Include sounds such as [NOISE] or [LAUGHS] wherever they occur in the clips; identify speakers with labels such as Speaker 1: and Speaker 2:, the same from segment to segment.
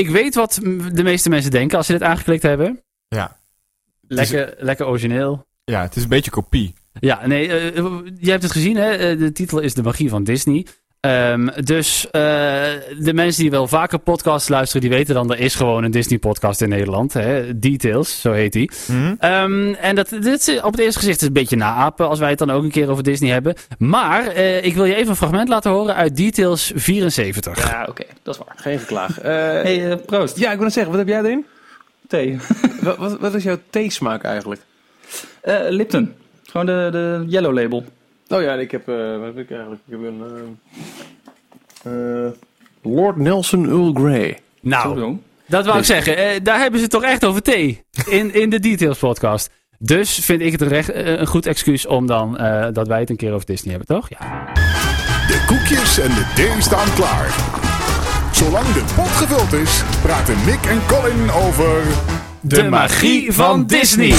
Speaker 1: Ik weet wat m- de meeste mensen denken als ze dit aangeklikt hebben.
Speaker 2: Ja.
Speaker 1: Lekker, lekker origineel.
Speaker 2: Ja, het is een beetje kopie.
Speaker 1: Ja, nee, eh, je hebt het gezien, hè? Eh, De titel is De Magie van Disney. Ehm, dus eh, de mensen die wel vaker podcasts luisteren, die weten dan... er is gewoon een Disney-podcast in Nederland. Hè? Details, zo heet die.
Speaker 2: Hm?
Speaker 1: Ehm, en dat, dit is op het eerste gezicht een beetje naapen... als wij het dan ook een keer over Disney hebben. Maar eh, ik wil je even een fragment laten horen uit Details 74.
Speaker 3: Ja, Ah, oké, dat is waar.
Speaker 4: Geen geklaag. Eh,
Speaker 3: hey, eh, proost.
Speaker 4: ja, ik wil net zeggen, wat heb jij erin?
Speaker 3: Thee. [LAUGHS]
Speaker 4: Wat, wat, wat is jouw theesmaak eigenlijk?
Speaker 3: Eh, Lipton. Gewoon de, de yellow label.
Speaker 4: Oh ja, ik heb, eh, wat heb ik eigenlijk? Ik heb een... eh, eh, Lord Nelson Earl Grey.
Speaker 1: Nou,
Speaker 3: Zo.
Speaker 1: Dat wou ik zeggen. Eh, daar hebben ze het toch echt over thee. In, in de Details podcast. Dus vind ik het recht, eh, een goed excuus om dan eh, dat wij het een keer over Disney hebben, toch? Ja.
Speaker 5: De koekjes en de thee staan klaar. Zolang de pot gevuld is, praten Mick en Colin over
Speaker 1: De, magie van Disney.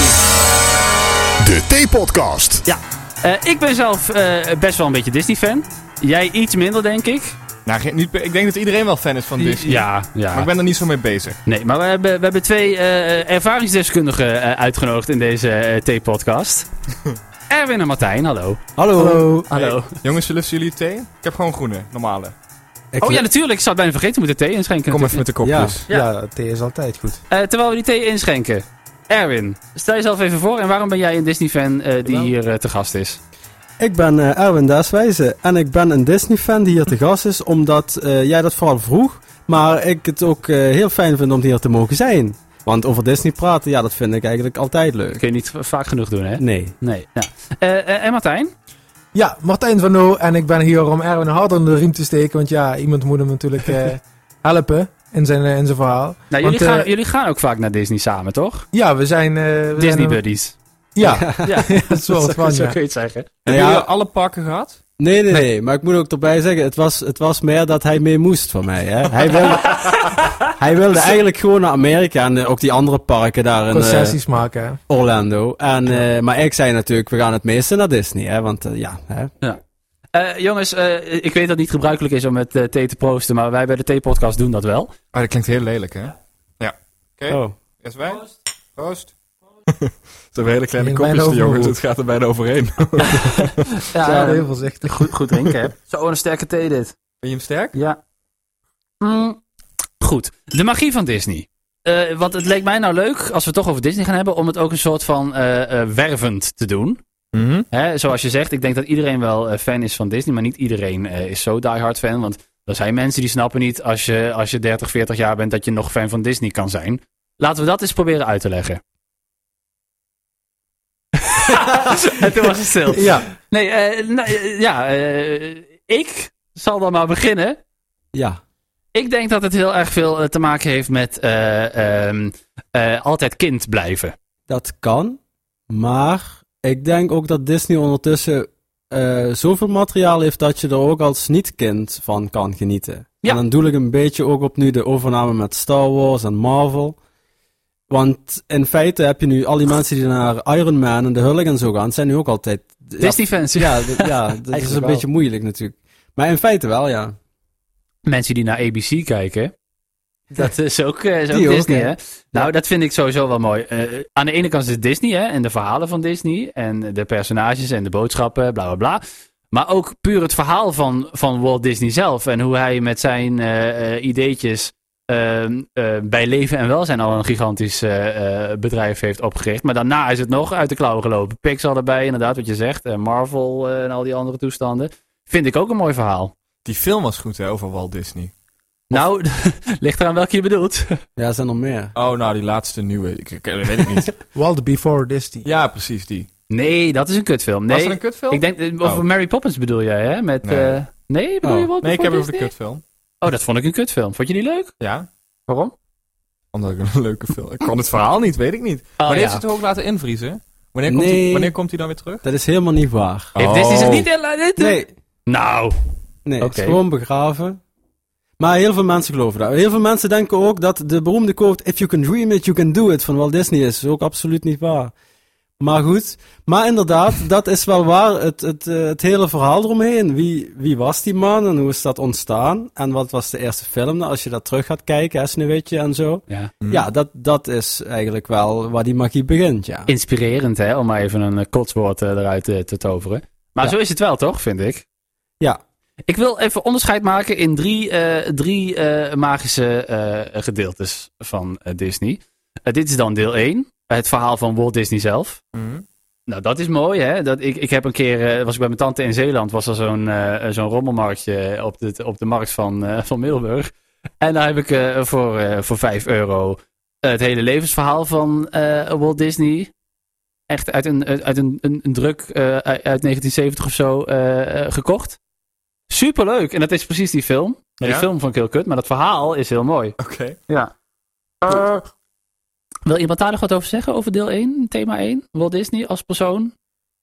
Speaker 5: de Thee-podcast.
Speaker 1: Ja. Eh, ik ben zelf eh, best wel een beetje Disney-fan. Jij iets minder, denk ik.
Speaker 2: Nou, geen- niet, per- ik denk dat iedereen wel fan is van Disney.
Speaker 1: Ja, ja.
Speaker 2: Maar ik ben er niet zo mee bezig.
Speaker 1: Nee, maar we hebben, we hebben twee eh, ervaringsdeskundigen eh, uitgenodigd in deze eh, [LAUGHS] thee-podcast. Erwin en Martijn, hallo.
Speaker 6: Hallo.
Speaker 1: Hallo.
Speaker 2: Jongens, zullen jullie thee? Ik heb gewoon groene, normale.
Speaker 6: Ik-
Speaker 1: Oh ja, dus. natuurlijk. Ik zou het bijna vergeten. We moeten thee inschenken.
Speaker 2: Kom
Speaker 1: natuurlijk.
Speaker 2: even met de
Speaker 6: ja,
Speaker 2: kopjes.
Speaker 6: ja. thee is altijd goed.
Speaker 1: Eh, terwijl we die thee inschenken. Erwin, stel jezelf even voor en waarom ben jij een Disney-fan eh, die
Speaker 4: Jawel.
Speaker 1: hier eh, te gast is?
Speaker 6: Ik ben eh Erwin Daaswijze en ik ben een Disney-fan die hier te gast is, omdat eh, jij dat vooral vroeg, maar ik het ook eh, heel fijn vind om hier te mogen zijn. Want over Disney praten, ja, dat vind ik eigenlijk altijd
Speaker 1: Dat
Speaker 6: leuk.
Speaker 1: kun je niet v- vaak genoeg doen, hè?
Speaker 6: Nee.
Speaker 1: Nee. Ja. Eh, eh, en Martijn?
Speaker 7: Ja, Martijn van No en ik ben hier om Erwin harder in de riem te steken. Want ja, iemand moet hem natuurlijk eh, helpen in zijn, eh, in zijn verhaal.
Speaker 1: Nou,
Speaker 7: Want,
Speaker 1: jullie, gaan,
Speaker 7: eh,
Speaker 1: jullie gaan ook vaak naar Disney samen, toch?
Speaker 7: Ja, we zijn... eh, we
Speaker 1: Disney
Speaker 7: zijn,
Speaker 1: Buddies.
Speaker 7: Ja,
Speaker 1: Ja,
Speaker 7: [LAUGHS] dat is wel
Speaker 1: [LAUGHS]
Speaker 7: wat van,
Speaker 1: zo
Speaker 7: ja.
Speaker 1: kun je het zeggen.
Speaker 2: Hebben
Speaker 6: Nou Ja.
Speaker 2: jullie alle pakken gehad?
Speaker 6: Nee, nee, nee, maar ik moet ook erbij zeggen, het was, het was meer dat hij mee moest van mij. Hè? Hij,
Speaker 1: [LAUGHS]
Speaker 6: wilde, hij wilde eigenlijk gewoon naar Amerika en eh, ook die andere parken daar in eh,
Speaker 7: Concessies maken. hè.
Speaker 6: Orlando. En, eh, maar ik zei natuurlijk, we gaan het meeste naar Disney, hè? want eh, ja, hè?
Speaker 1: Eh, jongens, eh, ik weet dat het niet gebruikelijk is om met eh, thee te proosten, maar wij bij de Thee-podcast doen dat wel.
Speaker 2: Ah, dat klinkt heel lelijk, hè? Ja. Oké.
Speaker 6: Oh.
Speaker 2: Yes, wij. Proost. Ze hebben hele kleine
Speaker 7: In
Speaker 2: kopjes,
Speaker 7: mijn
Speaker 2: die jongens.
Speaker 7: overhoed.
Speaker 2: Het gaat er bijna overheen.
Speaker 7: Ja,
Speaker 1: Ja.
Speaker 7: heel voorzichtig.
Speaker 1: Goed, goed drinken, [LAUGHS] hè? Zo, een Eh, sterke thee dit.
Speaker 2: Ben je hem sterk?
Speaker 1: Ja. Mm. Goed. De magie van Disney. Eh, want het leek mij nou leuk, als we het toch over Disney gaan hebben, om het ook een soort van eh, eh, wervend te doen. Hè, zoals je zegt, ik denk dat iedereen wel eh, fan is van Disney, maar niet iedereen eh, is zo diehard fan. Want er zijn mensen die snappen niet als je, als je 30, 40 jaar bent dat je nog fan van Disney kan zijn. Laten we dat eens proberen uit te leggen. [LAUGHS] en toen was het stil.
Speaker 7: Ja,
Speaker 1: Nee, eh, nou, eh, ja, eh, ik zal dan maar beginnen.
Speaker 6: Ja.
Speaker 1: Ik denk dat het heel erg veel eh, te maken heeft met eh, ehm, eh, altijd kind blijven.
Speaker 6: Dat kan. Maar ik denk ook dat Disney ondertussen eh, zoveel materiaal heeft dat je er ook als niet-kind van kan genieten.
Speaker 1: Ja.
Speaker 6: En dan doel ik een beetje ook op nu de overname met Star Wars en Marvel. Want in feite heb je nu al die mensen die naar Iron Man en de Hulk en zo gaan, zijn nu ook altijd...
Speaker 1: Disney-fans.
Speaker 6: Ja, ja, d- [LAUGHS] ja, dat is een
Speaker 7: Eigenlijk wel.
Speaker 6: beetje moeilijk natuurlijk. Maar in feite wel, ja.
Speaker 1: Mensen die naar ABC kijken. Dat is ook, eh, is ook
Speaker 6: [LAUGHS] Die ook,
Speaker 1: Disney,
Speaker 6: hè?
Speaker 1: hè? Nou, dat vind ik sowieso wel mooi. Eh, aan de ene kant is het Disney, hè? En de verhalen van Disney. En de personages en de boodschappen, bla bla bla. Maar ook puur het verhaal van, van Walt Disney zelf. En hoe hij met zijn eh, eh, ideetjes ehm, eh, bij leven en welzijn al een gigantisch eh, eh, bedrijf heeft opgericht. Maar daarna is het nog uit de klauwen gelopen. Pixar erbij, inderdaad, wat je zegt. En Marvel eh, en al die andere toestanden. Vind ik ook een mooi verhaal.
Speaker 2: Die film was goed, hè, over Walt Disney.
Speaker 1: Nou, [LAUGHS] ligt eraan welke je bedoelt.
Speaker 6: Ja, er zijn er meer.
Speaker 2: Oh, nou, die laatste nieuwe. Ik, ik- dat weet ik niet.
Speaker 7: Walt Before Disney.
Speaker 2: ja, precies, die.
Speaker 1: Nee, dat is een kutfilm.
Speaker 2: Was
Speaker 1: Nee,
Speaker 2: dat een kutfilm?
Speaker 1: ik denk, eh, over
Speaker 2: Oh.
Speaker 1: Mary Poppins bedoel jij, hè? Met,
Speaker 2: Nee.
Speaker 1: eh, nee, bedoel
Speaker 6: Oh.
Speaker 1: je wat?
Speaker 2: nee, ik heb het over de kutfilm.
Speaker 1: Oh, dat vond ik een kutfilm. Vond je die leuk?
Speaker 2: Ja,
Speaker 1: Waarom?
Speaker 2: omdat ik een [LAUGHS] leuke film... Ik kon het verhaal niet, weet ik niet.
Speaker 1: Oh,
Speaker 2: wanneer
Speaker 1: ja.
Speaker 2: is het ook laten invriezen? Wanneer komt,
Speaker 6: Nee.
Speaker 2: hij, wanneer komt hij dan weer terug?
Speaker 6: Dat is helemaal niet waar.
Speaker 1: Heeft Disney zich
Speaker 2: Oh.
Speaker 1: niet in laten doen?
Speaker 6: Nee,
Speaker 1: Nou,
Speaker 6: Nee, het
Speaker 1: Oké.
Speaker 6: is gewoon begraven. Maar heel veel mensen geloven dat. Heel veel mensen denken ook dat de beroemde quote... If you can dream it, you can do it van Walt Disney is. is ook absoluut niet waar. Maar goed, maar inderdaad, [LAUGHS] dat is wel waar. Het, het, eh, het hele verhaal eromheen. Wie, wie was die man en hoe is dat ontstaan? En wat was de eerste film? Nou, als je dat terug gaat kijken, hè, Sneeuwwitje en zo.
Speaker 1: Ja.
Speaker 2: Hm. Mhm.
Speaker 6: Ja, dat, dat is eigenlijk wel waar die magie begint, ja.
Speaker 1: Inspirerend, hè, om maar even een eh, kotswoord eh, eruit eh, te toveren. Maar
Speaker 6: Ja.
Speaker 1: zo is het wel, toch, vind ik?
Speaker 6: Ja.
Speaker 1: Ik wil even onderscheid maken in drie, eh, drie eh, magische eh, gedeeltes van eh, Disney. Eh, dit is dan deel 1, het verhaal van Walt Disney zelf. Nou, dat is mooi, hè? Dat, ik, ik heb een keer, eh, was ik bij mijn tante in Zeeland, was er zo'n eh, eh, zo'n rommelmarktje op de, op de markt van, eh, van Middelburg. En daar heb ik eh, voor, eh, voor 5 euro eh, het hele levensverhaal van eh, Walt Disney. Echt uit een, uit een, een, een druk eh, uit 1970 of zo eh, eh, gekocht. Superleuk. En dat is precies die film. Maar Die
Speaker 2: Ja?
Speaker 1: film vond ik heel kut, maar dat verhaal is heel mooi.
Speaker 2: Oké.
Speaker 1: Ja. Wil iemand daar nog wat over zeggen? Over deel 1, thema 1? Walt Disney als persoon?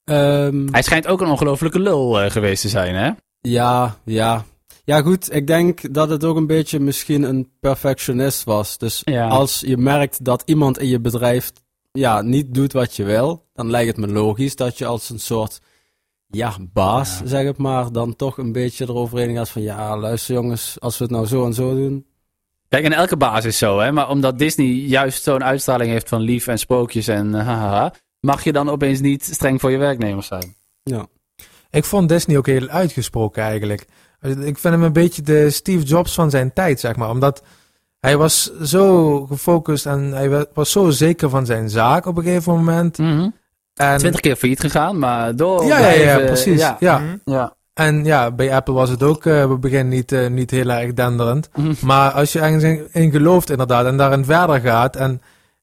Speaker 6: Ehm,
Speaker 1: Hij schijnt ook een ongelofelijke lul eh, geweest te zijn, hè?
Speaker 6: Ja, ja. Ja, goed. Ik denk dat het ook een beetje misschien een perfectionist was. Dus
Speaker 1: Ja.
Speaker 6: als je merkt dat iemand in je bedrijf ja, niet doet wat je wil, dan lijkt het me logisch dat je als een soort ja, baas, zeg het maar, dan toch een beetje eroverheen gaat van ja, luister jongens, als we het nou zo en zo doen.
Speaker 1: Kijk, en elke baas is zo, hè? Maar omdat Disney juist zo'n uitstraling heeft van lief en sprookjes en eh, hahaha... mag je dan opeens niet streng voor je werknemers zijn.
Speaker 6: Ja.
Speaker 7: Ik vond Disney ook heel uitgesproken eigenlijk. Ik vind hem een beetje de Steve Jobs van zijn tijd, zeg maar. Omdat hij was zo gefocust en hij wa- was zo zeker van zijn zaak op een gegeven moment.
Speaker 1: Mhm.
Speaker 7: En,
Speaker 1: Twintig keer failliet gegaan, maar door
Speaker 7: ja, ja, ja,
Speaker 1: blijven,
Speaker 7: precies.
Speaker 1: Ja.
Speaker 7: ja.
Speaker 1: Ja.
Speaker 7: En ja, bij Apple was het ook eh, op het begin niet, eh, niet heel erg denderend.
Speaker 1: Mhm.
Speaker 7: Maar als je ergens in, in gelooft inderdaad en daarin verder gaat. En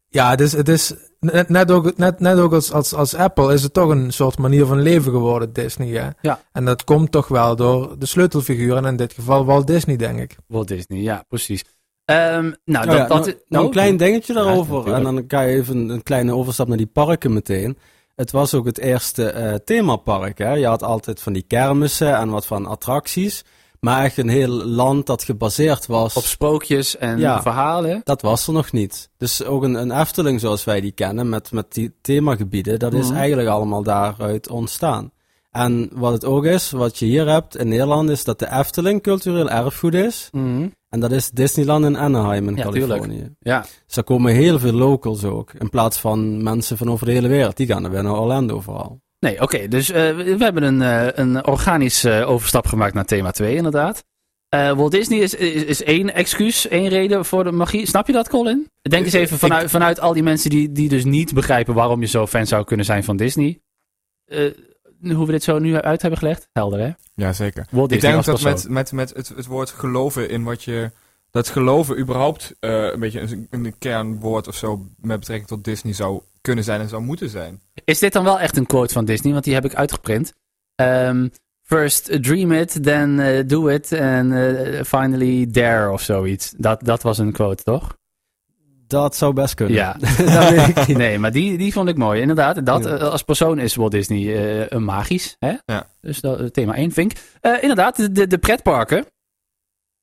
Speaker 7: ja, het is, het is net, net ook, net, net ook als, als, als Apple is het toch een soort manier van leven geworden, Disney. Hè?
Speaker 1: Ja.
Speaker 7: En dat komt toch wel door de sleutelfiguren, en in dit geval Walt Disney, denk
Speaker 1: [LAUGHS]
Speaker 7: ik.
Speaker 1: Walt Disney, ja, precies. Ehm, nou,
Speaker 6: Nou
Speaker 1: dat,
Speaker 6: ja,
Speaker 1: dat,
Speaker 6: nou, nou,
Speaker 1: oh.
Speaker 6: een klein dingetje daarover.
Speaker 1: natuurlijk.
Speaker 6: en dan ga je even een kleine overstap naar die parken meteen. Het was ook het eerste eh, themapark. Hè? Je had altijd van die kermissen en wat van attracties. Maar echt een heel land dat gebaseerd was,
Speaker 1: Op sprookjes en
Speaker 6: Ja.
Speaker 1: verhalen.
Speaker 6: dat was er nog niet. Dus ook een, een Efteling zoals wij die kennen, met, met die themagebieden, dat is
Speaker 1: Mhm.
Speaker 6: eigenlijk allemaal daaruit ontstaan. En wat het ook is, wat je hier hebt in Nederland, is dat de Efteling cultureel erfgoed is. En dat is Disneyland in Anaheim in
Speaker 1: Ja, tuurlijk.
Speaker 6: Californië.
Speaker 1: Ja,
Speaker 6: Dus daar komen heel veel locals ook. In plaats van mensen van over de hele wereld. Die gaan dan weer naar Orlando vooral.
Speaker 1: nee, oké. dus eh, we we hebben een, eh, een organische eh, overstap gemaakt naar thema 2, inderdaad. Eh, Walt Disney is, is, is één excuus, één reden voor de magie. Snap je dat, Colin? Denk eens even vanuit, vanuit al die mensen die, die dus niet begrijpen waarom je zo fan zou kunnen zijn van Disney. Eh, hoe we dit zo nu uit hebben gelegd? Helder, hè?
Speaker 2: Ja, zeker.
Speaker 1: Walt
Speaker 2: Ik
Speaker 1: Disney
Speaker 2: denk
Speaker 1: als
Speaker 2: dat
Speaker 1: persoon.
Speaker 2: met, met, met het, het woord geloven in wat je... Dat geloven überhaupt eh, een beetje een, een kernwoord of zo met betrekking tot Disney zou kunnen zijn en zou moeten zijn.
Speaker 1: Is dit dan wel echt een quote van Disney? Want die heb ik uitgeprint. Ehm, first dream it, then eh, do it, and eh, finally dare of zoiets. Dat, dat was een quote, toch?
Speaker 6: Dat zou best kunnen.
Speaker 1: Ja.
Speaker 6: [LAUGHS] dat weet ik niet.
Speaker 1: Nee, maar die, die vond ik mooi. Inderdaad, dat,
Speaker 6: Ja.
Speaker 1: eh, als persoon is Walt Disney eh, een magisch. Hè?
Speaker 2: Ja.
Speaker 1: Dus dat, eh, thema 1, Vink. Eh, inderdaad, de- de, de pretparken.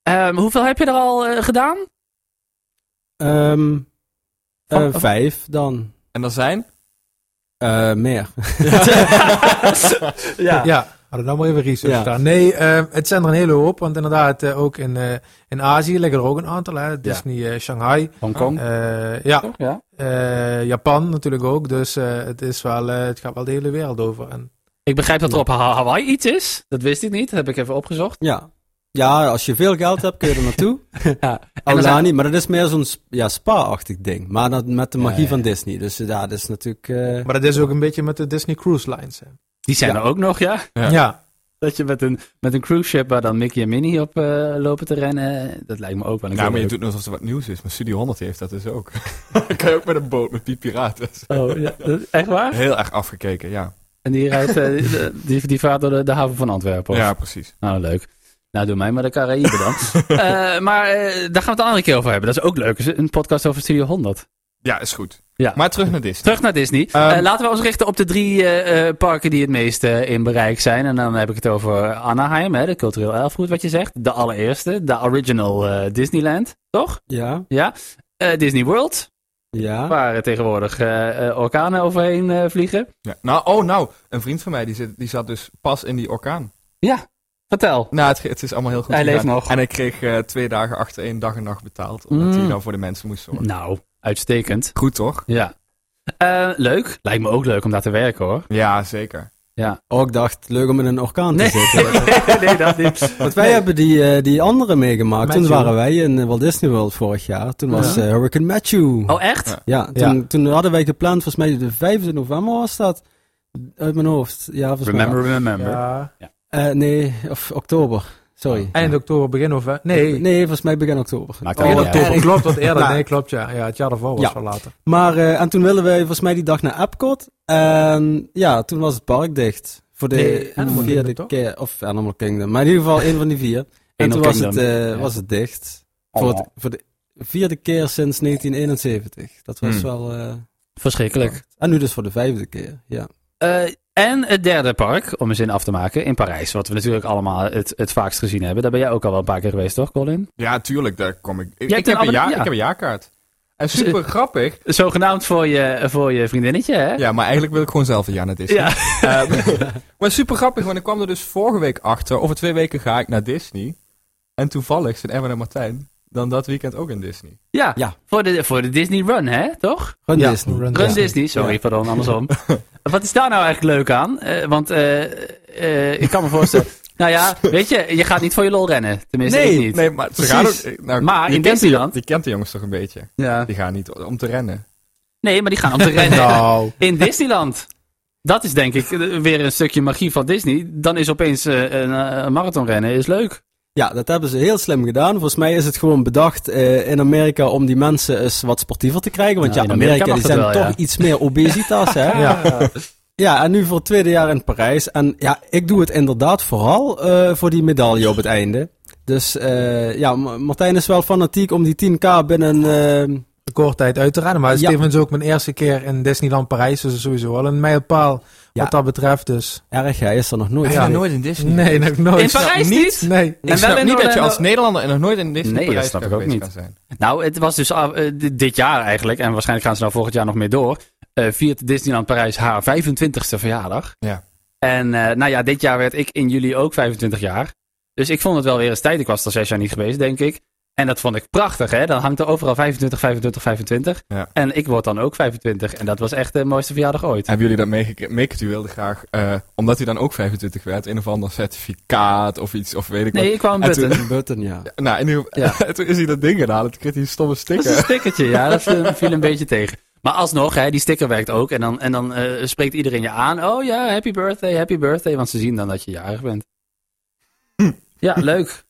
Speaker 1: Ehm, hoeveel heb je er al eh, gedaan?
Speaker 6: Ehm,
Speaker 1: Van-
Speaker 6: eh, vijf dan.
Speaker 2: Oh, En dat zijn?
Speaker 6: Eh, meer.
Speaker 7: Ja. Hadden we dan maar even research
Speaker 6: Ja.
Speaker 7: gedaan. Nee, eh, het zijn er een hele hoop. Want inderdaad, eh, ook in, eh, in Azië liggen er ook een aantal. Hè? Disney eh, Shanghai.
Speaker 1: Hongkong.
Speaker 7: Eh, ja,
Speaker 1: toch? ja.
Speaker 7: Eh, Japan natuurlijk ook, dus eh, het, is wel, eh, het gaat wel de hele wereld over. En,
Speaker 1: Ik begrijp dat er op Ha- Hawaii iets is. Dat wist ik niet. Dat heb ik even opgezocht.
Speaker 6: [LAUGHS] Ja. Ja, als je veel geld hebt kun je er naartoe.
Speaker 1: [LAUGHS] Ja. En dan zijn-
Speaker 6: Alani, maar dat is meer zo'n sp- ja, spa-achtig ding. Maar dat, met de magie
Speaker 1: Ja, ja.
Speaker 6: van Disney. Dus ja, dat is natuurlijk... eh,
Speaker 7: maar dat is ook een beetje met de Disney Cruise Lines. hè.
Speaker 1: die zijn
Speaker 6: Ja.
Speaker 1: er ook nog, ja.
Speaker 2: Ja.
Speaker 7: Ja.
Speaker 1: Dat je met een, met een cruise ship waar dan Mickey en Minnie op eh, lopen te rennen, eh, dat lijkt me ook wel een
Speaker 2: Nou,
Speaker 1: keer
Speaker 2: maar je
Speaker 1: leuk.
Speaker 2: doet net alsof er wat nieuws is, maar Studio 100 heeft dat dus ook. Dan kan je ook met een boot met die piraten.
Speaker 1: Oh, ja, dat- echt waar?
Speaker 2: Heel erg afgekeken, ja.
Speaker 1: En die, rijdt, eh, die- die, die vaart door de, de haven van Antwerpen. of?
Speaker 2: Ja, precies.
Speaker 1: Nou, leuk. Nou, doe mij maar de Caraïbe dan.
Speaker 2: [LAUGHS]
Speaker 1: Eh, maar eh, daar gaan we het een andere keer over hebben. Dat is ook leuk. Is Een podcast over Studio 100.
Speaker 2: Ja, is goed.
Speaker 1: Ja.
Speaker 2: Maar terug naar Disney.
Speaker 1: Terug naar Disney.
Speaker 2: Ehm,
Speaker 1: Eh, laten we ons richten op de drie eh, eh, parken die het meeste in bereik zijn. En dan heb ik het over Anaheim, hè, de cultureel erfgoed wat je zegt. De allereerste, de original eh, Disneyland, toch?
Speaker 6: ja.
Speaker 1: Ja. Eh, Disney World.
Speaker 6: Ja.
Speaker 1: Waar eh, tegenwoordig eh, eh, orkanen overheen eh, vliegen.
Speaker 2: Ja. Nou, oh, nou, een vriend van mij die, zit, die zat dus pas in die orkaan.
Speaker 1: Ja, vertel.
Speaker 2: Nou, het, het is allemaal heel goed.
Speaker 1: Hij leeft
Speaker 2: gegaan.
Speaker 1: nog.
Speaker 2: En hij kreeg eh, twee dagen achter één dag en nacht betaald. Omdat
Speaker 1: Mm.
Speaker 2: hij dan voor de mensen moest zorgen.
Speaker 1: Nou, uitstekend.
Speaker 2: Goed toch?
Speaker 1: Ja. Eh, leuk. Lijkt me ook leuk om daar te werken hoor.
Speaker 2: Ja, zeker.
Speaker 6: Ook Oh, dacht, leuk om in een orkaan te
Speaker 1: Nee. [LAUGHS]
Speaker 6: zitten.
Speaker 1: nee, dat niet.
Speaker 6: Want wij hebben die, eh, die andere meegemaakt.
Speaker 7: Matthew.
Speaker 6: Toen waren wij in eh, Walt Disney World vorig jaar. Toen was eh, Hurricane Matthew.
Speaker 1: Oh, echt?
Speaker 2: Ja.
Speaker 6: Ja, toen, toen hadden wij gepland, volgens mij de 5 november was dat. Uit mijn hoofd. Ja, volgens mij.
Speaker 1: Remember, remember.
Speaker 7: Ja.
Speaker 6: Eh, nee, of oktober. Sorry.
Speaker 7: Eind oktober, begin november. Oh. Nee,
Speaker 6: Nee, Oh, volgens mij begin oktober.
Speaker 1: Maakt
Speaker 7: begin
Speaker 1: allemaal niet
Speaker 7: oktober.
Speaker 6: erg.
Speaker 7: Klopt, wat eerder.
Speaker 6: Nou.
Speaker 7: Nee, klopt, ja. ja het jaar daarvoor was
Speaker 6: Ja.
Speaker 7: wel later.
Speaker 6: Maar, eh, en toen wilden wij volgens mij die dag naar Epcot. En ja, toen was het park dicht. Voor de
Speaker 7: Nee, Animal
Speaker 6: vierde
Speaker 7: Kingdom, toch?
Speaker 6: keer. Of Animal Kingdom. Maar in ieder geval één van die vier. En
Speaker 1: Animal
Speaker 6: toen was het,
Speaker 1: Kingdom,
Speaker 6: eh,
Speaker 1: ja.
Speaker 6: was het dicht.
Speaker 7: Oh,
Speaker 6: Voor,
Speaker 1: Oh.
Speaker 6: het- voor de vierde keer sinds 1971. Dat was
Speaker 2: Hmm.
Speaker 6: wel... eh,
Speaker 1: Verschrikkelijk.
Speaker 6: en nu dus voor de vijfde keer, ja.
Speaker 1: Eh, en het derde park, om een zin af te maken, in Parijs. Wat we natuurlijk allemaal het, het vaakst gezien hebben. Daar ben jij ook al wel een paar keer geweest, toch, Colin?
Speaker 2: Ja, tuurlijk, daar kom ik. Ik,
Speaker 1: Jij
Speaker 2: ik,
Speaker 1: kan
Speaker 2: heb, een
Speaker 1: alle-
Speaker 2: ja,
Speaker 1: ja. Dus, eh,
Speaker 2: ik heb een jaarkaart. En super grappig.
Speaker 1: Zogenaamd voor je, voor je vriendinnetje, hè?
Speaker 2: Ja, maar eigenlijk wil ik gewoon zelf een jaar naar Disney.
Speaker 1: Ja.
Speaker 2: Ehm, maar super grappig, want ik kwam er dus vorige week achter. Over twee weken ga ik naar Disney. En toevallig zijn Emma en Martijn dan dat weekend ook in Disney.
Speaker 1: Ja,
Speaker 6: Ja.
Speaker 1: Voor, de, voor de Disney Run, hè? Toch?
Speaker 6: Run
Speaker 7: Ja,
Speaker 6: Disney.
Speaker 7: Run
Speaker 1: Run
Speaker 7: Ja.
Speaker 1: Disney, sorry, pardon, andersom. [LAUGHS] Wat is daar nou eigenlijk leuk aan? Eh, want eh, eh, ik kan me voorstellen... nou ja, weet je, je gaat niet voor je lol rennen. Tenminste, ik niet.
Speaker 2: nee, maar ze
Speaker 1: Precies.
Speaker 2: gaan ook, nou,
Speaker 1: Maar
Speaker 2: je
Speaker 1: in
Speaker 2: kent die-
Speaker 1: Disneyland?
Speaker 2: Je kent de jongens toch een beetje?
Speaker 1: Ja.
Speaker 2: Die gaan niet om te rennen.
Speaker 1: nee, maar die gaan om te rennen.
Speaker 7: [LAUGHS] Nou,
Speaker 1: In Disneyland. Dat is denk ik eh, weer een stukje magie van Disney. Dan is opeens eh, een, eh, een marathon rennen is leuk.
Speaker 6: Ja, dat hebben ze heel slim gedaan. Volgens mij is het gewoon bedacht eh, in Amerika om die mensen eens wat sportiever te krijgen. Want
Speaker 1: Nou,
Speaker 6: ja,
Speaker 1: in Amerika
Speaker 6: Amerika, die zijn
Speaker 1: mag dat wel,
Speaker 6: toch iets meer obesitas, hè?
Speaker 7: [LAUGHS] ja.
Speaker 6: Ja, en nu voor het tweede jaar in Parijs. En ja, ik doe het inderdaad vooral eh, voor die medaille op het einde. Dus eh, ja, Ma- Martijn is wel fanatiek om die 10k binnen... eh,
Speaker 7: Kort tijd uit te rennen. Maar het
Speaker 6: Ja.
Speaker 7: is tevens ook mijn eerste keer in Disneyland Parijs. Dus sowieso wel een mijlpaal
Speaker 6: Ja.
Speaker 7: wat dat betreft. Dus.
Speaker 6: erg, hij is er nog nooit.
Speaker 7: Ja.
Speaker 6: geweest.
Speaker 2: nooit in Disney.
Speaker 7: Nee, nog nooit.
Speaker 1: In Parijs niet?
Speaker 7: Nee.
Speaker 2: Ik snap
Speaker 1: in
Speaker 2: niet dat je
Speaker 1: Orlando-
Speaker 2: als Nederlander en nog nooit in Disney
Speaker 1: Nee, dat
Speaker 2: Parijs
Speaker 1: snap ik
Speaker 2: kan
Speaker 1: ook
Speaker 2: geweest
Speaker 1: niet.
Speaker 2: kan zijn.
Speaker 1: Nou, het was dus af- eh, di- dit jaar eigenlijk. En waarschijnlijk gaan ze nou volgend jaar nog meer door. eh, viert Disneyland Parijs haar 25e verjaardag.
Speaker 2: Ja.
Speaker 1: En eh, nou ja, dit jaar werd ik in juli ook 25 jaar. Dus ik vond het wel weer eens tijd. Ik was er zes jaar niet geweest, denk ik. En dat vond ik prachtig, hè? Dan hangt er overal 25, 25, 25.
Speaker 2: Ja.
Speaker 1: En ik word dan ook 25. En dat was echt de mooiste verjaardag ooit.
Speaker 2: Hebben jullie dat meegekregen? Mick, u wilde graag, eh, omdat hij dan ook 25 werd, een of ander certificaat of iets, of weet ik
Speaker 1: Nee,
Speaker 2: wat.
Speaker 1: ik kwam
Speaker 2: En
Speaker 1: Button.
Speaker 2: toen-
Speaker 6: Een button, ja. [LAUGHS]
Speaker 2: Nou, en nu,
Speaker 1: Ja.
Speaker 2: [LAUGHS] toen is hij dat ding gedaan, toen kreeg hij een stomme
Speaker 1: Dat is een
Speaker 2: sticker.
Speaker 1: stickertje, ja. Dat viel viel een beetje tegen. Maar alsnog, hè, die sticker werkt ook. En dan, en dan eh, spreekt iedereen je aan. Oh ja, happy birthday, happy birthday. Want ze zien dan dat je jarig bent.
Speaker 2: Hm.
Speaker 1: Ja, leuk.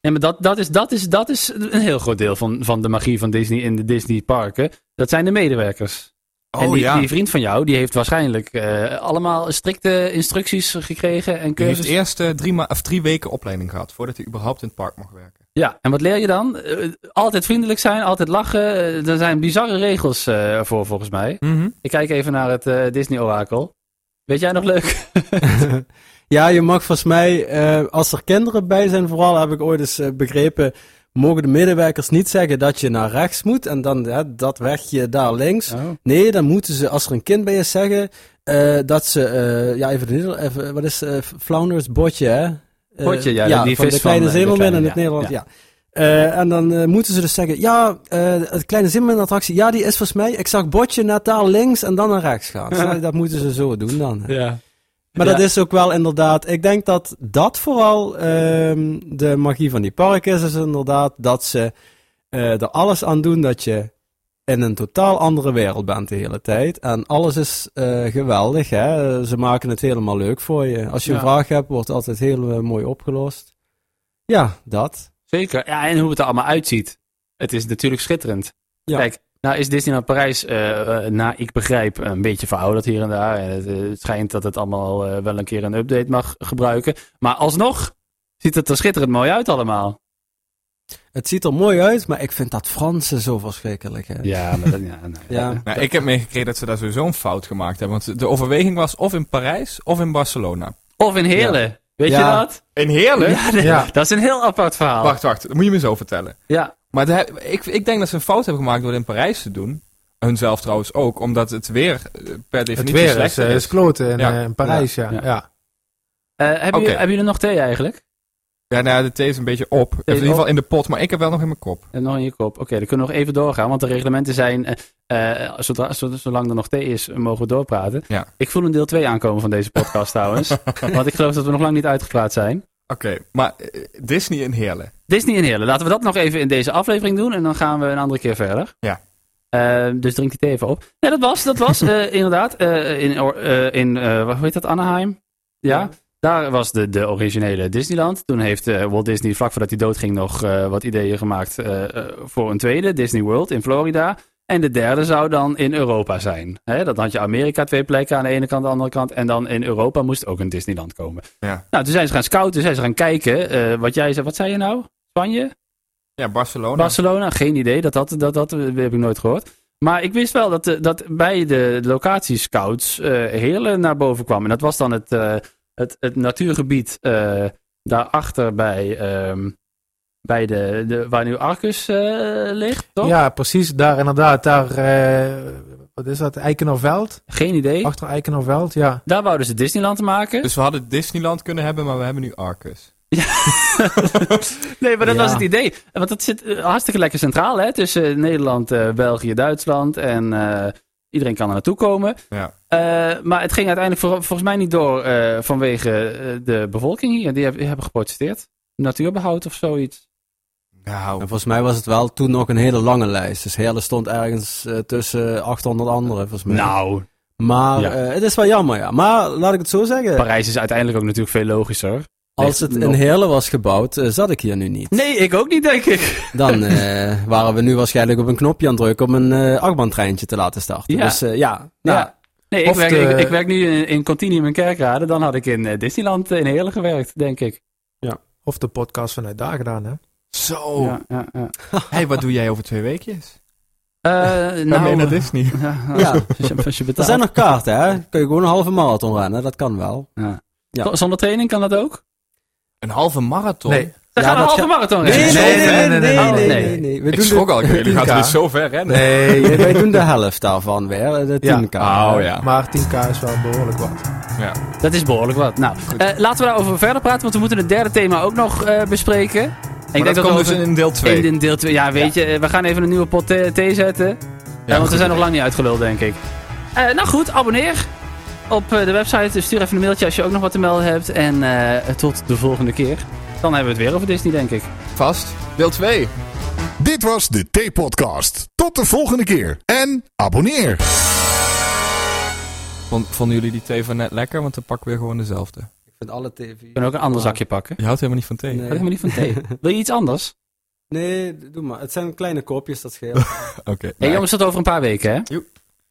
Speaker 1: Nee, maar dat, dat, is, dat, is, dat is een heel groot deel van, van de magie van Disney in de Disney parken. Dat zijn de medewerkers.
Speaker 2: Oh,
Speaker 1: en die, die vriend van jou, die heeft waarschijnlijk eh, allemaal strikte instructies gekregen en
Speaker 2: Hij heeft
Speaker 1: cursussen.
Speaker 2: eerst eh, drie, ma- of drie weken opleiding gehad voordat hij überhaupt in het park mag werken.
Speaker 1: Ja, en wat leer je dan? Eh, altijd vriendelijk zijn, altijd lachen. Eh, er zijn bizarre regels eh, voor, volgens mij.
Speaker 6: Mhm.
Speaker 1: Ik kijk even naar het eh, Disney-orakel. Weet jij nog leuk?
Speaker 6: ja, je mag volgens mij, eh, als er kinderen bij zijn vooral, heb ik ooit eens eh, begrepen, mogen de medewerkers niet zeggen dat je naar rechts moet en dan hè, dat wegje daar links. Nee, dan moeten ze, als er een kind bij is, zeggen eh, dat ze, eh, ja, even, de Neder- even wat is eh Flounders botje, hè? Eh,
Speaker 1: Botje, ja, die
Speaker 6: van
Speaker 1: vis
Speaker 6: de kleine
Speaker 1: van, eh, de
Speaker 6: zeemermin
Speaker 1: kleine,
Speaker 6: in het
Speaker 1: ja,
Speaker 6: Nederlands,
Speaker 1: ja.
Speaker 6: ja. Eh, en dan eh, moeten ze dus zeggen, ja, eh, het kleine zeemermin attractie, ja, die is volgens mij, ik zag botje net daar links en dan naar rechts gaan.
Speaker 1: [LAUGHS]
Speaker 6: Nou, dat moeten ze zo doen dan. hè.
Speaker 1: Ja.
Speaker 6: Maar dat
Speaker 1: Ja.
Speaker 6: is ook wel inderdaad, ik denk dat dat vooral ehm, de magie van die park is, is inderdaad dat ze eh, er alles aan doen dat je in een totaal andere wereld bent de hele tijd. En alles is eh, geweldig, hè? ze maken het helemaal leuk voor je. Als je
Speaker 1: Ja.
Speaker 6: een vraag hebt, wordt het altijd heel eh, mooi opgelost. Ja, dat.
Speaker 1: Zeker. Ja, en hoe het er allemaal uitziet. Het is natuurlijk schitterend.
Speaker 6: Ja.
Speaker 1: Kijk, nou is Disneyland Parijs, eh eh, naar ik begrijp, een beetje verouderd hier en daar. En het, eh, het schijnt dat het allemaal eh, wel een keer een update mag gebruiken. Maar alsnog ziet het er schitterend mooi uit allemaal.
Speaker 6: Het ziet er mooi uit, maar ik vind dat Fransen zo verschrikkelijk. Hè?
Speaker 1: Ja, maar dat, ja, nou,
Speaker 6: Ja.
Speaker 2: Nou, ik heb meegekregen dat ze daar sowieso een fout gemaakt hebben. Want de overweging was of in Parijs of in Barcelona.
Speaker 1: Of in Heerlen. Weet je
Speaker 6: Ja.
Speaker 1: dat?
Speaker 2: In Heerlijk?
Speaker 1: Ja, nee,
Speaker 7: Ja.
Speaker 1: dat is een heel apart verhaal.
Speaker 2: Wacht, wacht. Dat moet je me zo vertellen.
Speaker 1: Ja,
Speaker 2: Maar de- ik, ik denk dat ze een fout hebben gemaakt door het in Parijs te doen. hunzelf trouwens ook, omdat het weer eh, per
Speaker 7: Het
Speaker 2: definitie
Speaker 7: weer is,
Speaker 2: slechter
Speaker 7: eh,
Speaker 2: is.
Speaker 7: is kloten in,
Speaker 2: Ja.
Speaker 7: eh, in Parijs, ja.
Speaker 1: Ja.
Speaker 7: ja.
Speaker 1: Eh, hebben,
Speaker 2: Oké.
Speaker 1: jullie, hebben jullie nog thee eigenlijk?
Speaker 2: Ja, nou, ja, de thee is een beetje op. in ieder geval in de pot, maar ik heb wel nog in mijn kop.
Speaker 1: En Eh, nog in je kop. Oké, dan kunnen we nog even doorgaan. Want de reglementen zijn. eh, eh, zodra, zo- zolang er nog thee is, eh, mogen we doorpraten.
Speaker 2: Ja.
Speaker 1: Ik voel een deel 2 aankomen van deze
Speaker 2: [LAUGHS]
Speaker 1: podcast trouwens. Want ik geloof dat we nog lang niet uitgepraat zijn.
Speaker 2: Oké, maar eh, Disney in Heerlen.
Speaker 1: Disney en Heerlen. Laten we dat nog even in deze aflevering doen. En dan gaan we een andere keer verder.
Speaker 2: Ja.
Speaker 1: Eh, dus drink die thee even op. Nee, dat was, dat
Speaker 2: [LAUGHS]
Speaker 1: was eh, inderdaad. eh, in, or- eh, in eh, wat- hoe heet dat? Anaheim. Ja.
Speaker 2: Ja.
Speaker 1: Daar was de, de originele Disneyland. Toen heeft eh, Walt Disney vlak voordat hij doodging nog eh, wat ideeën gemaakt eh, eh, voor een tweede, Disney World in Florida. En de derde zou dan in Europa zijn. Hè, dan had je Amerika twee plekken aan de ene kant, aan de andere kant. En dan in Europa moest ook een Disneyland komen.
Speaker 2: Ja.
Speaker 1: Nou, toen zijn ze gaan scouten, zijn ze gaan kijken. eh, wat jij zei, wat zei je nou? Spanje?
Speaker 2: Ja, Barcelona.
Speaker 1: Barcelona, geen idee. Dat, dat, dat, dat, eh, heb ik nooit gehoord. Maar ik wist wel dat, eh, dat bij de locatiescouts eh Heerlen naar boven kwam. En dat was dan het, eh, het, het natuurgebied eh, daarachter bij, ehm, bij de, de, waar nu Arcus eh, ligt, toch?
Speaker 7: Ja, precies. Daar inderdaad, daar, eh, wat is dat, Eikenerveld?
Speaker 1: Geen idee.
Speaker 7: Achter Eikenerveld, ja.
Speaker 1: Daar wouden ze Disneyland maken.
Speaker 2: Dus we hadden Disneyland kunnen hebben, maar we hebben nu Arcus.
Speaker 1: Nee, maar dat
Speaker 7: Ja.
Speaker 1: was het idee. Want het zit eh, hartstikke lekker centraal, hè? Tussen eh, Nederland, eh, België, Duitsland. En eh, iedereen kan er naartoe komen.
Speaker 2: Ja.
Speaker 1: Eh, maar het ging uiteindelijk voor- volgens mij niet door eh, vanwege eh, de bevolking hier. Die heb- hebben geprotesteerd. Natuurbehoud of zoiets.
Speaker 6: En
Speaker 2: Nou,
Speaker 6: volgens mij was het wel toen nog een hele lange lijst. Dus Heerlen stond ergens eh, tussen 800 anderen, volgens mij.
Speaker 1: Nou,
Speaker 6: Maar
Speaker 1: Ja.
Speaker 6: eh, het is wel jammer, ja. Maar laat ik het zo zeggen.
Speaker 1: Parijs is uiteindelijk ook natuurlijk veel logischer.
Speaker 6: Als het in
Speaker 1: nog-
Speaker 6: Heerlen was gebouwd, eh, zat ik hier nu niet.
Speaker 1: Nee, ik ook niet, denk ik. [LAUGHS]
Speaker 6: Dan eh, waren we nu waarschijnlijk op een knopje aan het drukken om een eh achtbaantreintje te laten starten.
Speaker 1: Ja.
Speaker 6: Dus eh, ja, nou,
Speaker 1: Ja. Nee, ik
Speaker 7: Of
Speaker 1: werk,
Speaker 7: de-
Speaker 1: ik, ik werk nu in, in Continuum in Kerkrade. Dan had ik in eh, Disneyland eh, in Heerlen gewerkt, denk ik.
Speaker 7: Of de podcast vanuit daar gedaan, hè.
Speaker 2: zo.
Speaker 1: Ja, ja, ja.
Speaker 2: Hé, wat doe jij over twee weekjes?
Speaker 1: Eh,
Speaker 2: Nou,
Speaker 1: nou,
Speaker 2: naar Disney.
Speaker 1: [LAUGHS] ja,
Speaker 6: Ja.
Speaker 1: als je- als je
Speaker 6: er
Speaker 1: betaalt.
Speaker 6: zijn nog kaarten, hè? Kun je gewoon een halve marathon rennen, dat kan wel. Ja.
Speaker 1: Z- Zonder training kan dat ook?
Speaker 2: [LAUGHS] Een halve marathon?
Speaker 7: Nee,
Speaker 1: Dan
Speaker 6: Ja,
Speaker 1: gaan we een
Speaker 6: dat
Speaker 1: halve
Speaker 6: ga-
Speaker 1: marathon
Speaker 6: Nee, nee,
Speaker 1: rennen.
Speaker 6: nee, nee, nee, nee,
Speaker 7: nee,
Speaker 1: nee, nee.
Speaker 6: We
Speaker 2: Ik
Speaker 6: doen
Speaker 2: schrok
Speaker 6: de-
Speaker 2: al, jullie gaan
Speaker 7: 10K.
Speaker 2: dus zo ver rennen.
Speaker 7: nee.
Speaker 6: Nee, [LAUGHS] wij doen de helft daarvan weer, de 10k.
Speaker 2: Oh ja.
Speaker 7: Maar 10k is wel behoorlijk wat.
Speaker 1: Dat is behoorlijk wat. Nou, eh, laten we daarover verder praten, want we moeten het derde thema ook nog eh, bespreken. En
Speaker 2: Ik denk dat
Speaker 1: we
Speaker 2: komt dus
Speaker 1: over-
Speaker 2: in deel 2.
Speaker 1: in, in deel 2. Ja, weet je, eh, we gaan even een nieuwe pot eh, thee zetten. Eh, want we zijn nog lang niet uitgeluld, denk ik. Eh, nou goed, abonneer op eh, de website. Dus Stuur even een mailtje als je ook nog wat te melden hebt. En eh, tot de volgende keer. Dan hebben we het weer over Disney, denk ik.
Speaker 2: vast. Deel 2.
Speaker 5: Dit was de T-podcast. Tot de volgende keer en abonneer.
Speaker 2: Vonden jullie die thee van net lekker? Want dan pakken we weer gewoon dezelfde.
Speaker 6: Ik vind alle tv...
Speaker 1: We kunnen ook een ander zakje pakken.
Speaker 2: Je houdt helemaal niet van thee.
Speaker 1: Had ik me
Speaker 6: Nee.
Speaker 1: niet van thee. Wil je iets anders?
Speaker 6: nee, doe maar. Het zijn kleine kopjes, dat scheelt.
Speaker 2: Oké.
Speaker 1: Hé hey, jongens, tot over een paar weken, hè?
Speaker 2: Joep.